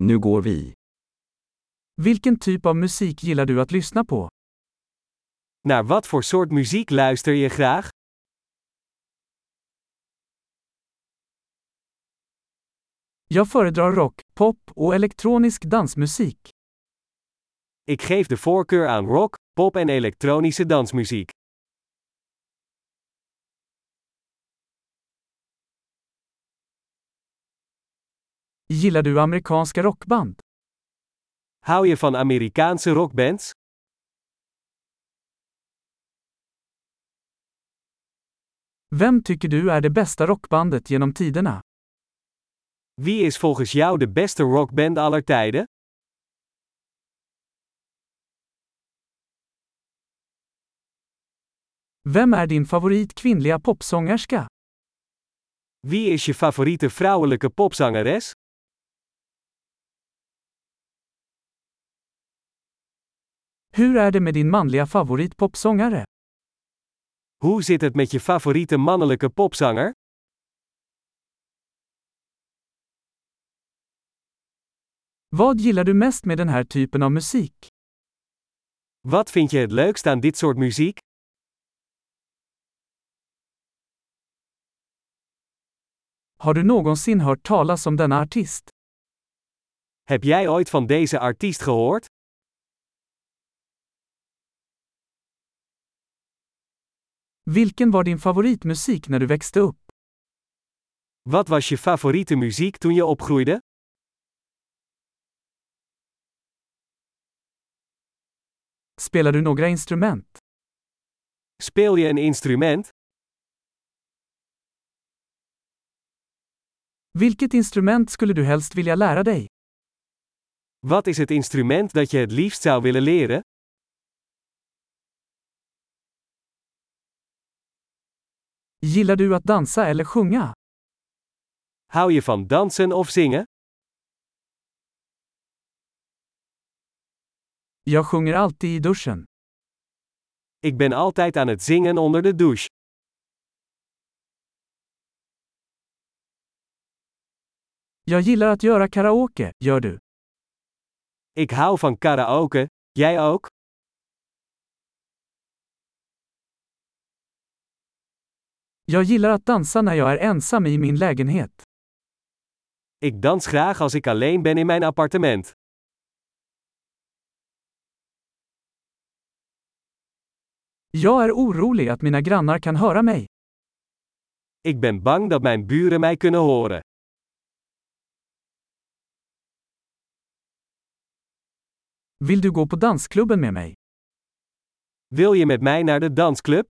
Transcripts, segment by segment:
Nu går vi. Vilken typ av musik gillar du att lyssna på? Naar wat voor soort muziek luister je graag? Jag föredrar rock, pop och elektronisk dansmusik. Ik geef de voorkeur aan rock, pop en elektronische dansmuziek. Gillar du amerikanska rockband? Hou je van Amerikaanse rockbands? Vem tycker du är det bästa rockbandet genom tiderna? Wie is volgens jou de beste rockband aller tijden? Vem är din favorit kvinnliga popsångerska? Wie is je favoriete vrouwelijke popzangeres? Hur är det med din manliga favorit popsångare? Hoe zit het met je favoriete mannelijke popzanger? Vad gillar du mest med den här typen av musik? Wat vind je het leukst aan dit soort muziek? Har du någonsin hört talas om denna artist? Heb jij ooit van deze artiest gehoord? Vilken var din favoritmusik när du växte upp? Wat was je favoriete muziek toen je opgroeide? Spelar du några instrument? Speel je een instrument? Vilket instrument skulle du helst vilja lära dig? Wat is het instrument dat je het liefst zou willen leren? Gillar du att dansa eller sjunga? Hou je van dansen of zingen? Jag sjunger alltid i duschen. Ik ben altijd aan het zingen onder de douche. Jag gillar att göra karaoke, gör du? Ik hou van karaoke, jij ook? Jag gillar att dansa när jag är ensam i min lägenhet. Ik dans graag als ik alleen ben in mijn appartement. Jag är orolig att mina grannar kan höra mig. Ik ben bang dat mijn buren mij kunnen horen. Vill du gå på dansklubben med mig? Wil je met mij naar de dansclub?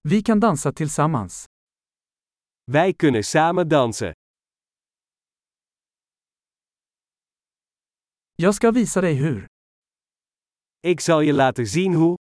Vi kan dansa tillsammans. Wij kunnen samen dansen. Jag ska visa dig hur. Ik zal je laten zien hoe.